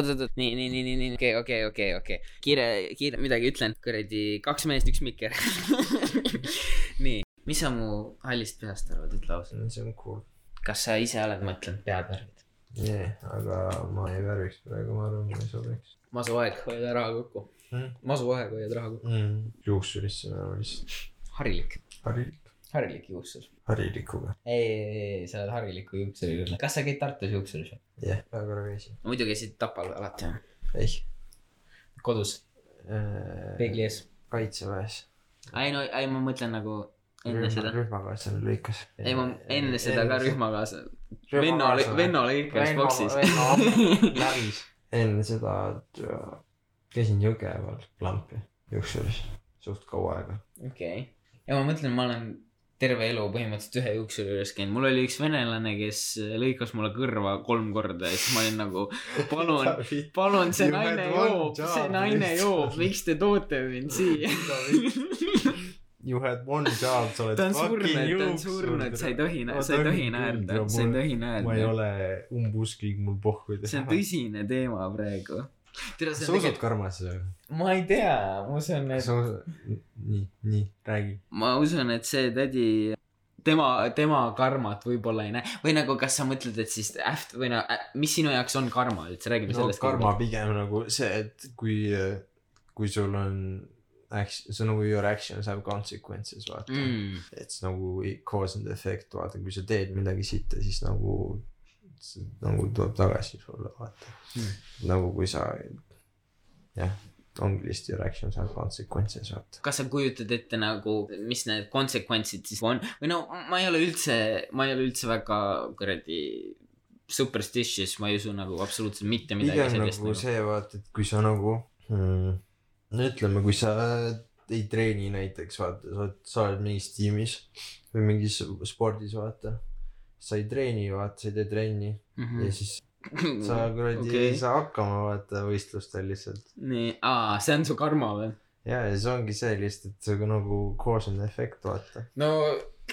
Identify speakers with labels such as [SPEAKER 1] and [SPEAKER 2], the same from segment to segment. [SPEAKER 1] oot-oot-oot , nii , nii , nii , nii , nii , okei , okei , okei , okei . kiire , kiire , midagi ütlen , kuradi kaks meest , üks mikker . nii , mis sa mu hallist pihast arvad , ütle ausalt .
[SPEAKER 2] see on cool .
[SPEAKER 1] kas sa ise oled mõtlenud pead värvid ?
[SPEAKER 2] nii , aga ma ei värviks praegu , ma arvan , ma ei sobiks
[SPEAKER 1] masuaeg , hoiad raha kokku .
[SPEAKER 2] mm. .
[SPEAKER 1] masuaeg , hoiad raha kokku .
[SPEAKER 2] Mm. juuksurisse me oleme lihtsalt
[SPEAKER 1] harilik ,
[SPEAKER 2] harilik ,
[SPEAKER 1] harilik juuksur .
[SPEAKER 2] harilikuga .
[SPEAKER 1] ei , ei , ei , sa oled hariliku juuksuri küll . kas sa käid Tartus juuksuris või ?
[SPEAKER 2] jah yeah. , väga korra käisin .
[SPEAKER 1] muidu käisid Tapal alati või ?
[SPEAKER 2] ei
[SPEAKER 1] kodus ,
[SPEAKER 2] äh, .
[SPEAKER 1] peegli ees .
[SPEAKER 2] Äh, kaitseväes .
[SPEAKER 1] ei no , ei ma mõtlen nagu enne seda .
[SPEAKER 2] rühmakaaslane lõikas .
[SPEAKER 1] ei ma enne seda ka . rühmakaaslane ,
[SPEAKER 2] Rühma
[SPEAKER 1] venna ,
[SPEAKER 2] kaasa-
[SPEAKER 1] venna oli ikka üks boksis .
[SPEAKER 2] läbis . enne seda tõ- käisin Jõgeval lampi juuksuris suht kaua aega .
[SPEAKER 1] okei , ja ma mõtlen , ma olen terve elu põhimõtteliselt ühe juuksuri juures käinud , mul oli üks venelane , kes lõikas mulle kõrva kolm korda ja siis ma olin nagu palun , palun , see
[SPEAKER 2] You had
[SPEAKER 1] naine
[SPEAKER 2] one
[SPEAKER 1] joob , see
[SPEAKER 2] job,
[SPEAKER 1] naine
[SPEAKER 2] lihtsalt.
[SPEAKER 1] joob , miks te toote mind siia ?
[SPEAKER 2] You had one job , sa oled
[SPEAKER 1] ta on surnud , ta on surnud , sa ei tohi , sa ei tohi naerda , sa ei tohi
[SPEAKER 2] ma ei
[SPEAKER 1] naerda .
[SPEAKER 2] ole umbusklik , mul pohhu ei
[SPEAKER 1] see on . tõsine teema praegu . tere , see
[SPEAKER 2] sa
[SPEAKER 1] on
[SPEAKER 2] usud
[SPEAKER 1] tegelikult ,
[SPEAKER 2] karmasse või ?
[SPEAKER 1] ma ei tea , ma usun , et
[SPEAKER 2] sa usud , nii , nii , räägi .
[SPEAKER 1] ma usun , et see tädi , tema , tema karmat võib-olla ei näe või nagu , kas sa mõtled , et siis äht- või no ä- mis sinu jaoks on karma üldse , räägime
[SPEAKER 2] no
[SPEAKER 1] sellest .
[SPEAKER 2] karma . pigem nagu see , et kui , kui sul on action , see on nagu your actions have consequences vaata mm. .
[SPEAKER 1] Mm.
[SPEAKER 2] et see nagu cause and effect vaata , kui sa teed midagi sitta , siis nagu , nagu tuleb tagasi sulle vaata
[SPEAKER 1] Mm.
[SPEAKER 2] mm. . nagu kui sa , jah , ongi lihtsalt your actions have consequences vaata .
[SPEAKER 1] kas sa kujutad ette nagu , mis need konsekventsid siis on või no ma ei ole üldse , ma ei ole üldse väga kuradi superstitious , ma ei usu nagu absoluutselt mitte midagi
[SPEAKER 2] pigem
[SPEAKER 1] sellist
[SPEAKER 2] nagu . see vaata , et kui sa nagu mm, , no ütleme , kui sa ei treeni näiteks vaata , sa oled , sa oled mingis tiimis või mingis spordis vaata . sa ei treeni vaata , sa ei tee trenni mm. ja siis sa kuradi okay.
[SPEAKER 1] Mhm. Hmm, Okei.
[SPEAKER 2] ei saa hakkama vaata võistlustel lihtsalt .
[SPEAKER 1] nii , aa , see on su karma või ?
[SPEAKER 2] ja , ja see ongi see lihtsalt , et see on nagu cause and effect vaata .
[SPEAKER 1] no ,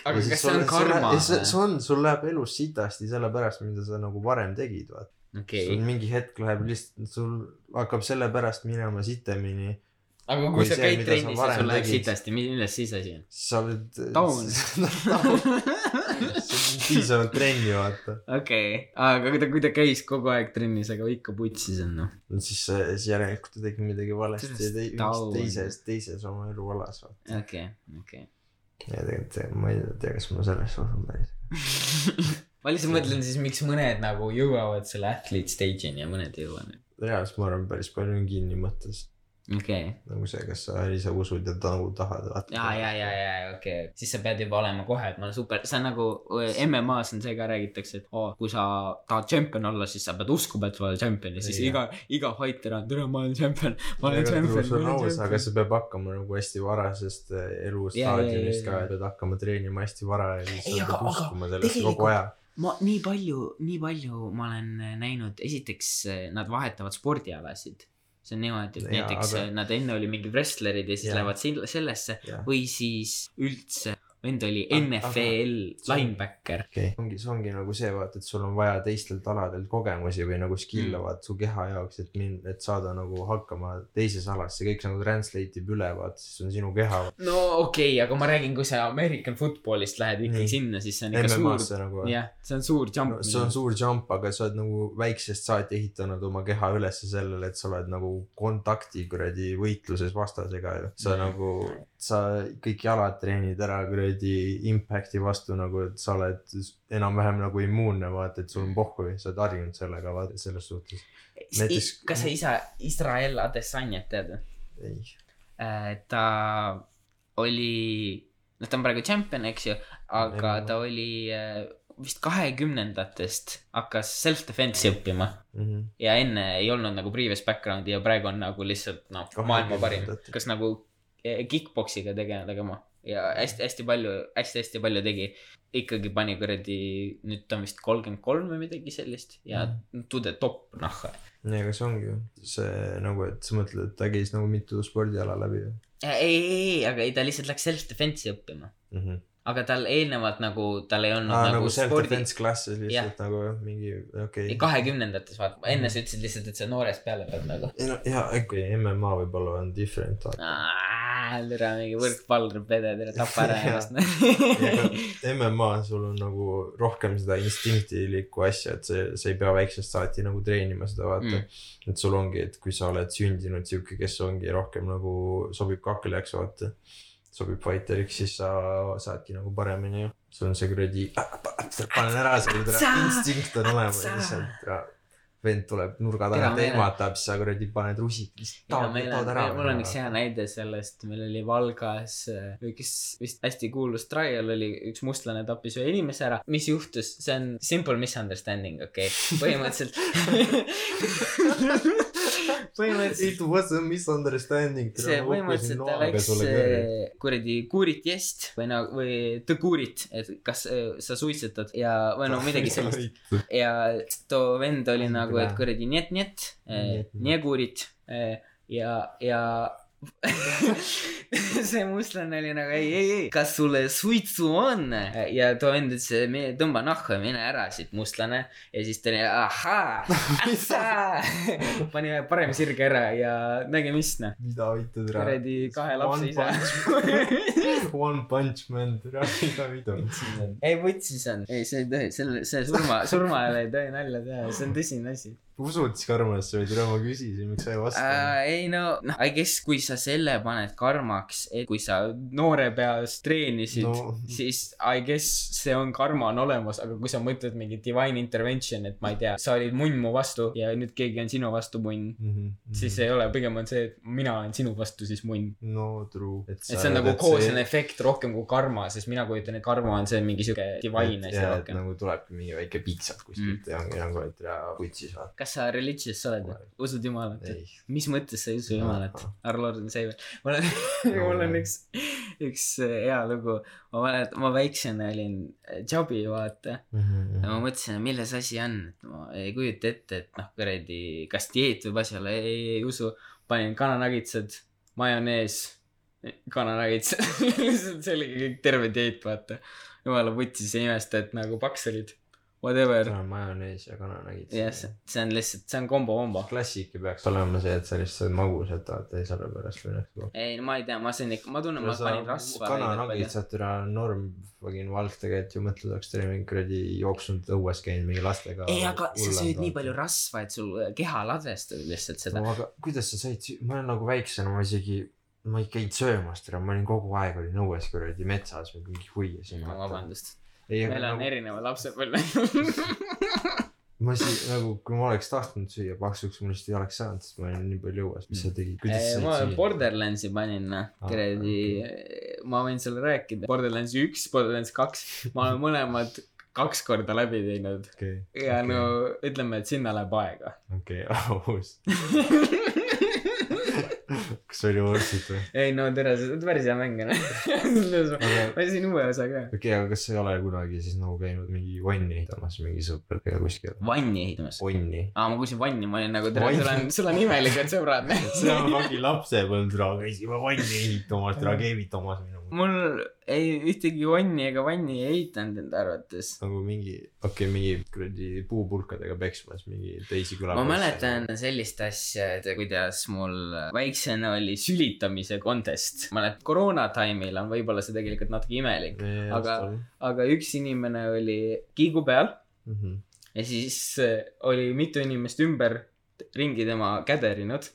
[SPEAKER 1] aga kas see on karma
[SPEAKER 2] see
[SPEAKER 1] või ?
[SPEAKER 2] see on , sul läheb elus sitasti sellepärast , mida sa nagu varem tegid vaata .
[SPEAKER 1] okei
[SPEAKER 2] sul , mingi hetk läheb lihtsalt , sul hakkab sellepärast minema sitemini
[SPEAKER 1] aga
[SPEAKER 2] kui
[SPEAKER 1] kui sa
[SPEAKER 2] see,
[SPEAKER 1] käid
[SPEAKER 2] mida sa
[SPEAKER 1] trennis ja
[SPEAKER 2] varem
[SPEAKER 1] sul läheb
[SPEAKER 2] tegid.
[SPEAKER 1] sitasti , milles siis asi on ?
[SPEAKER 2] sa oled .
[SPEAKER 1] Taun.
[SPEAKER 2] piisavalt trenni vaata .
[SPEAKER 1] okei , aga kui ta , kui ta käis kogu aeg trennis , aga ikka putsis on noh .
[SPEAKER 2] siis , siis järelikult ta tegi midagi valesti ja tei- ,
[SPEAKER 1] Taun.
[SPEAKER 2] mingis teises , teises oma elualas vaata .
[SPEAKER 1] okei , okei .
[SPEAKER 2] ja tegelikult see- ma ei tea , kas ma sellesse usun päris .
[SPEAKER 1] ma lihtsalt mõtlen siis , miks mõned nagu jõuavad selle athlete stage'ini ja mõned ei jõua .
[SPEAKER 2] reaalselt ma arvan , päris palju on kinni mõttes
[SPEAKER 1] okei ,
[SPEAKER 2] nagu see , kas sa ise usud ja ta nagu tahad
[SPEAKER 1] ja ,
[SPEAKER 2] vaata .
[SPEAKER 1] ja , ja , ja , okei , siis sa pead juba olema kohe , et ma olen super , see on nagu eh, MM-as on see ka räägitakse , et oo , kui sa tahad tšempion olla , siis sa pead uskuma , et sa oled tšempion ja siis
[SPEAKER 2] Ei,
[SPEAKER 1] iga , iga fighter on , tere , ma olen tšempion , ma olen tšempion , ma olen
[SPEAKER 2] aga
[SPEAKER 1] tšempion .
[SPEAKER 2] nagu see peab hakkama nagu hästi varasest eh,
[SPEAKER 1] ja,
[SPEAKER 2] elustaadiumist ka
[SPEAKER 1] ja. ,
[SPEAKER 2] et pead hakkama treenima hästi vara ja siis
[SPEAKER 1] Ei, aga-
[SPEAKER 2] sa pead
[SPEAKER 1] aga
[SPEAKER 2] uskuma sellesse kogu
[SPEAKER 1] tegelikult-
[SPEAKER 2] aja .
[SPEAKER 1] ma nii palju , nii palju ma olen äh, näinud , esiteks äh, nad vahetavad spordialasid . see on niimoodi , et
[SPEAKER 2] Jaa,
[SPEAKER 1] näiteks
[SPEAKER 2] aga-
[SPEAKER 1] aga... nad enne olid mingid wrestlerid ja siis
[SPEAKER 2] Jaa.
[SPEAKER 1] ja. lähevad sil- sellesse
[SPEAKER 2] Jaa.
[SPEAKER 1] või siis üldse , vend oli
[SPEAKER 2] Aga-
[SPEAKER 1] NFL
[SPEAKER 2] see on-
[SPEAKER 1] linebacker .
[SPEAKER 2] okei okay. , ongi , see ongi nagu see vaata , et sul on vaja teistelt aladelt kogemusi või nagu skill'e
[SPEAKER 1] Mm.
[SPEAKER 2] vaata su keha jaoks , et min- , et saada nagu hakkama teises alas , see kõik nagu translate ib üle vaata , siis on sinu keha .
[SPEAKER 1] no okei okay, , aga ma räägin , kui sa American football'ist lähed ikkagi
[SPEAKER 2] Nii.
[SPEAKER 1] sinna , siis see on ikka suur ,
[SPEAKER 2] MM-asse nagu .
[SPEAKER 1] jah , see on suur jump
[SPEAKER 2] No, see on . suur jump , aga sa oled nagu väiksest saati ehitanud oma keha üles sellele , et sa oled nagu kontakti kuradi võitluses vastasega ju . sa
[SPEAKER 1] Mm.
[SPEAKER 2] nagu , sa kõik jalad treenid ära kuradi impact'i vastu nagu , et sa oled enam-vähem nagu immuunne , vaata , et sul on pohhu ja sa oled harjunud sellega , vaata selles suhtes . näiteks-
[SPEAKER 1] kas sa isa , Israel Adesanjat tead või ?
[SPEAKER 2] ei ,
[SPEAKER 1] Äh, ta oli , noh , ta on praegu tšempion , eks ju , aga
[SPEAKER 2] Ei,
[SPEAKER 1] ta oli äh, vist kahekümnendatest hakkas self-defense'i õppima
[SPEAKER 2] mm .
[SPEAKER 1] ja enne ei olnud nagu previous background'i ja praegu on nagu lihtsalt noh , maailma parim ,
[SPEAKER 2] Kahekümnendates.
[SPEAKER 1] kas nagu eh, kick-poksiga tege- , tegema ja hästi-hästi palju hästi, , hästi-hästi palju tegi . ikkagi pani kuradi , nüüd ta on vist kolmkümmend kolm või midagi sellist ja to the top noh .
[SPEAKER 2] -hmm. nii , aga see ongi ju see nagu , et sa mõtled , et ta käis nagu mitu spordiala läbi ju
[SPEAKER 1] ei , ei , ei , aga ei , ta lihtsalt läks self-defense'i õppima
[SPEAKER 2] mm . -hmm.
[SPEAKER 1] aga tal eelnevalt nagu tal ei olnud
[SPEAKER 2] aa ,
[SPEAKER 1] nagu,
[SPEAKER 2] nagu
[SPEAKER 1] spordi ,
[SPEAKER 2] self-defense classes lihtsalt nagu jah , mingi okei okay. .
[SPEAKER 1] kahekümnendates vaata , enne sa ütlesid lihtsalt , et sa noorest peale pead nagu .
[SPEAKER 2] ei no jaa , äkki MMA võib-olla on different .
[SPEAKER 1] ära mingi võrkpallur pede , tere tapa ära
[SPEAKER 2] Jaa.
[SPEAKER 1] ennast .
[SPEAKER 2] MMA sul on nagu rohkem seda instinktilikku asja , et see , sa ei pea väiksest saati nagu treenima seda vaata mm. . et sul ongi , et kui sa oled sündinud sihuke , kes ongi rohkem nagu sobib kaklejaks vaata , sobib fighteriks , siis sa saadki nagu paremini ju . sul on see kuradi , panen ära selle
[SPEAKER 1] Atsa!
[SPEAKER 2] tra- instinkt on olemas
[SPEAKER 1] Atsa!
[SPEAKER 2] lihtsalt ja vend tuleb nurga
[SPEAKER 1] Tere,
[SPEAKER 2] taha
[SPEAKER 1] meile.
[SPEAKER 2] teematab , siis sa kuradi paned rusik lihtsalt
[SPEAKER 1] ja
[SPEAKER 2] taod ,
[SPEAKER 1] meil on ,
[SPEAKER 2] taod ära .
[SPEAKER 1] mul on üks hea näide sellest , meil oli Valgas äh, üks vist hästi kuulus trial oli , üks mustlane tappis ühe inimese ära . mis juhtus , see on simple misunderstanding , okei okay. , põhimõtteliselt . põhimõtteliselt
[SPEAKER 2] It was a misunderstanding .
[SPEAKER 1] see põhimõtteliselt ta läks äh, kuradi kuuriti eest või no või the kuurit , et kas äh, sa suitsetad ja või no midagi sellist . ja too vend oli nagu , et kuradi njet , njet ,
[SPEAKER 2] Njet, njet.
[SPEAKER 1] njegurit eh, ja , ja see mustlane oli nagu ei , ei , ei , kas sulle suitsu on ? ja too vend ütles , mine tõmba nahku ja mine ära siit , mustlane . ja siis ta oli ahaa , ässa . pani ühe parem sirge ära ja näge mis noh ,
[SPEAKER 2] mida vittu türa .
[SPEAKER 1] kuradi kahe lapse isa .
[SPEAKER 2] One Punch Man türa , mida vittu .
[SPEAKER 1] ei , vutsis on , ei , see ei tohi , selle , see surma , surma ajal ei tohi nalja teha , see on tõsine asi .
[SPEAKER 2] usud siis Karmelasse või türa , ma küsisin , miks sa ei vasta .
[SPEAKER 1] äh, . ei no , noh , I guess kui sa selle paned karmaks , et kui sa noore peas treenisid no. ,
[SPEAKER 2] no mhm,
[SPEAKER 1] siis I guess see on , karma on olemas , aga kui sa mõtled mingi divine intervention , et ma ei tea , sa olid munn mu vastu ja nüüd keegi on sinu vastu munn mm. ,
[SPEAKER 2] mhm, mhm.
[SPEAKER 1] siis ei ole , pigem on see , et mina olen sinu vastu siis munn .
[SPEAKER 2] no true . et
[SPEAKER 1] et see on nagu koosene efekt rohkem kui karma , sest mina kujutan , et karma on see mingi sihuke divine asi
[SPEAKER 2] jaa , et
[SPEAKER 1] rohkem . Mm.
[SPEAKER 2] nagu tulebki mingi väike piksad kuskilt ja ongi nagu , et türa putsis vaata .
[SPEAKER 1] kas sa religious sa oled , usud jumalat või ?
[SPEAKER 2] ei ,
[SPEAKER 1] mis mõttes sa ei usu jumalat
[SPEAKER 2] Ahah. ?
[SPEAKER 1] Arlord on see veel . mul on , mul on üks , üks äh, hea lugu . ma mäletan , ma väiksena olin jobi , vaata .
[SPEAKER 2] Mhm,
[SPEAKER 1] ja ma mõtlesin , et milles asi on , et ma ei kujuta ette , et noh , kuradi , kas dieet võib asi olla , ei , ei , ei usu . panin kananagitsad , majonees , kananagitsad . see oligi kõik terve dieet , vaata . jumala vutsis ei imesta , et nagu paks olid . Whatever .
[SPEAKER 2] täna on majonees ja kananagid .
[SPEAKER 1] jah , see see on lihtsalt , see on kombo-kombo .
[SPEAKER 2] klassika peaks olema see , et sa lihtsalt sööd magusat , vaata ja selle pärast noh, minnakse .
[SPEAKER 1] ei , ma ei tea , ma sõin ikka , ma tunnen , ma panin rasva .
[SPEAKER 2] kananagitsad üle norm , fucking valk tegelikult ju mõtled , oleks teil mingi kuradi jooksnud õues käinud mingi lastega .
[SPEAKER 1] ei , aga sa sööd nii palju . rasva , et sul äh, keha ladvestab lihtsalt seda .
[SPEAKER 2] no aga kuidas sa said , ma olen nagu väiksena , ma isegi , ma ei käinud söömas täna , ma olin kogu aeg olin õues kuradi metsas või mingi huiasin .
[SPEAKER 1] vabandust ,
[SPEAKER 2] ei ,
[SPEAKER 1] meil
[SPEAKER 2] aga
[SPEAKER 1] on
[SPEAKER 2] nagu,
[SPEAKER 1] erineva lapsepõlve .
[SPEAKER 2] ma isegi nagu , kui ma oleks tahtnud süüa paksuks , ma lihtsalt ei oleks saanud , sest ma olin nii palju õues , mis sa tegid , kuidas
[SPEAKER 1] Äh,
[SPEAKER 2] sa Ah,
[SPEAKER 1] ma
[SPEAKER 2] said süüa ?
[SPEAKER 1] Borderlandsi panin , noh ,
[SPEAKER 2] Aa,
[SPEAKER 1] kuradi , ma võin sulle rääkida , Borderlandsi üks , Borderlands kaks , ma olen mõlemad kaks korda läbi teinud
[SPEAKER 2] okei ,
[SPEAKER 1] ja no ütleme , et sinna läheb aega .
[SPEAKER 2] okei , aus . kas see oli worth it või ?
[SPEAKER 1] ei no tere , sa oled päris hea mängija . ma siin uue osa ka .
[SPEAKER 2] okei , aga kas sa ei ole kunagi siis nagu käinud mingi vanni ehitamas mingi sõpradega kuskil ?
[SPEAKER 1] vanni ehitamas .
[SPEAKER 2] vanni .
[SPEAKER 1] aa , ma kuulsin vanni , ma olin nagu , tere ,
[SPEAKER 2] Vanni.
[SPEAKER 1] sul on , sul on imelikud sõbrad .
[SPEAKER 2] see on mingi lapsepõlv raha , käisime vanni ehitamas , raha keevitamas minu meelest .
[SPEAKER 1] mul ei ühtegi onni ega vanni ei eitanud enda arvates .
[SPEAKER 2] nagu mingi , okei okay, , mingi kuradi puupulkadega peksmas mingi teisi küla .
[SPEAKER 1] ma mäletan sellist asja , et kuidas mul väiksena oli sülitamise contest . mäletan , koroona time'il on võib-olla see tegelikult natuke imelik , aga-
[SPEAKER 2] aga .
[SPEAKER 1] aga üks inimene oli kiigu peal
[SPEAKER 2] Mhm.
[SPEAKER 1] ja siis äh, oli mitu inimest ümber ringi tema käderinud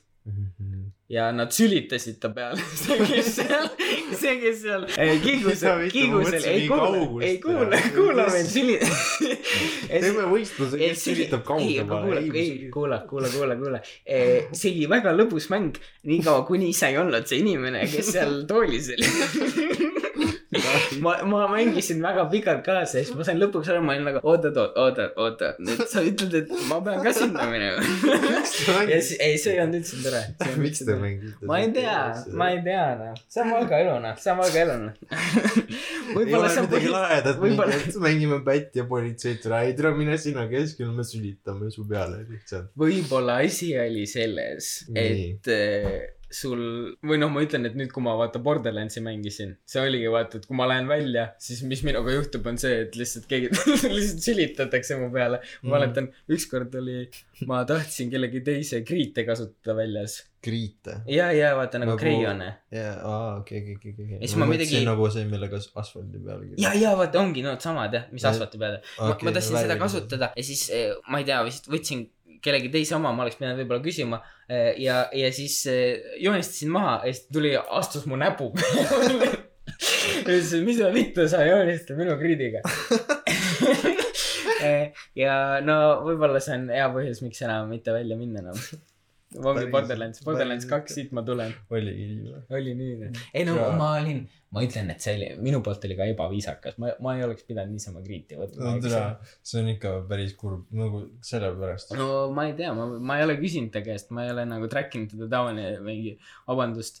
[SPEAKER 1] ja nad sülitasid ta peale , see kes seal , see kes seal eh, kiigus
[SPEAKER 2] Mida , vittu, ma
[SPEAKER 1] kiigus oli ,
[SPEAKER 2] mõtlesin
[SPEAKER 1] ei
[SPEAKER 2] nii
[SPEAKER 1] kuule ,
[SPEAKER 2] kaugust
[SPEAKER 1] ei
[SPEAKER 2] ära.
[SPEAKER 1] kuule , kuula
[SPEAKER 2] Mis-
[SPEAKER 1] mind süli- .
[SPEAKER 2] teeme võistluse ,
[SPEAKER 1] ei ,
[SPEAKER 2] kes
[SPEAKER 1] see oli ,
[SPEAKER 2] sülitab
[SPEAKER 1] ei , aga kuula ,
[SPEAKER 2] kaugemale .
[SPEAKER 1] ei , kuula , kuula , kuula , kuula . see oli väga lõbus mäng , niikaua kuni sa ei olnud see inimene , kes seal toolis oli . ma , ma mängisin väga pikalt kaasa ja siis ma sain lõpuks aru , ma olin nagu oota , oota , oota , nüüd sa ütled , et ma pean ka sinna minema . ja siis , ei , see ei olnud üldse tore .
[SPEAKER 2] miks te mängite ?
[SPEAKER 1] ma ei tea , ma ei tea noh , see on Valga elu noh , see on Valga elu noh .
[SPEAKER 2] ei ole
[SPEAKER 1] võib-olla see on
[SPEAKER 2] midagi
[SPEAKER 1] põhi- ,
[SPEAKER 2] lahedat ,
[SPEAKER 1] võib-olla-
[SPEAKER 2] mängime pätt ja politseid ära , ei tule mine sina keskele , me sülitame su peale lihtsalt .
[SPEAKER 1] võib-olla asi oli selles ,
[SPEAKER 2] Nii.
[SPEAKER 1] et äh, sul või noh , ma ütlen , et nüüd , kui ma vaata Borderlandsi mängisin , see oligi vaata , et kui ma lähen välja , siis mis minuga juhtub , on see , et lihtsalt keegi lihtsalt sülitatakse mu peale .
[SPEAKER 2] Mm.
[SPEAKER 1] ma mäletan , ükskord oli , ma tahtsin kellegi teise kriite kasutada väljas
[SPEAKER 2] kriite .
[SPEAKER 1] ja , ja vaata nagu
[SPEAKER 2] Nagu-
[SPEAKER 1] kreione .
[SPEAKER 2] jaa , aa , okei , okei , okei , okei .
[SPEAKER 1] Ja siis ma muidugi-
[SPEAKER 2] nagu see , millega s- asfaldi peal .
[SPEAKER 1] ja , ja vaata ongi need samad jah , mis
[SPEAKER 2] Ja-
[SPEAKER 1] asfalti peal ma, ma tahtsin seda . kasutada ja siis eh, ma ei tea , vist võtsin kellegi teise oma , ma oleks pidanud võib-olla küsima eh, ja , ja siis eh, joonistasin maha ja siis tuli , astus mu näpu peale . ja siis , mis sa vittu sa joonistad minu griidiga Eh, ja no võib-olla see on hea põhjus , miks enam mitte välja minna enam . ongi
[SPEAKER 2] Päris-
[SPEAKER 1] Borderlands , Borderlands
[SPEAKER 2] päris-
[SPEAKER 1] kaks , siit ma tulen .
[SPEAKER 2] oligi nii või ?
[SPEAKER 1] oli nii või ? ei no
[SPEAKER 2] Jaa.
[SPEAKER 1] ma olin , ma ütlen , et see oli , minu poolt oli ka ebaviisakas , ma , ma ei oleks pidanud niisama kriiti võtma
[SPEAKER 2] no . tere , see on ikka päris kurb , nagu sellepärast .
[SPEAKER 1] no ma ei tea , ma , ma ei ole küsinud ta käest , ma ei ole nagu track inud teda down'i mingi , vabandust .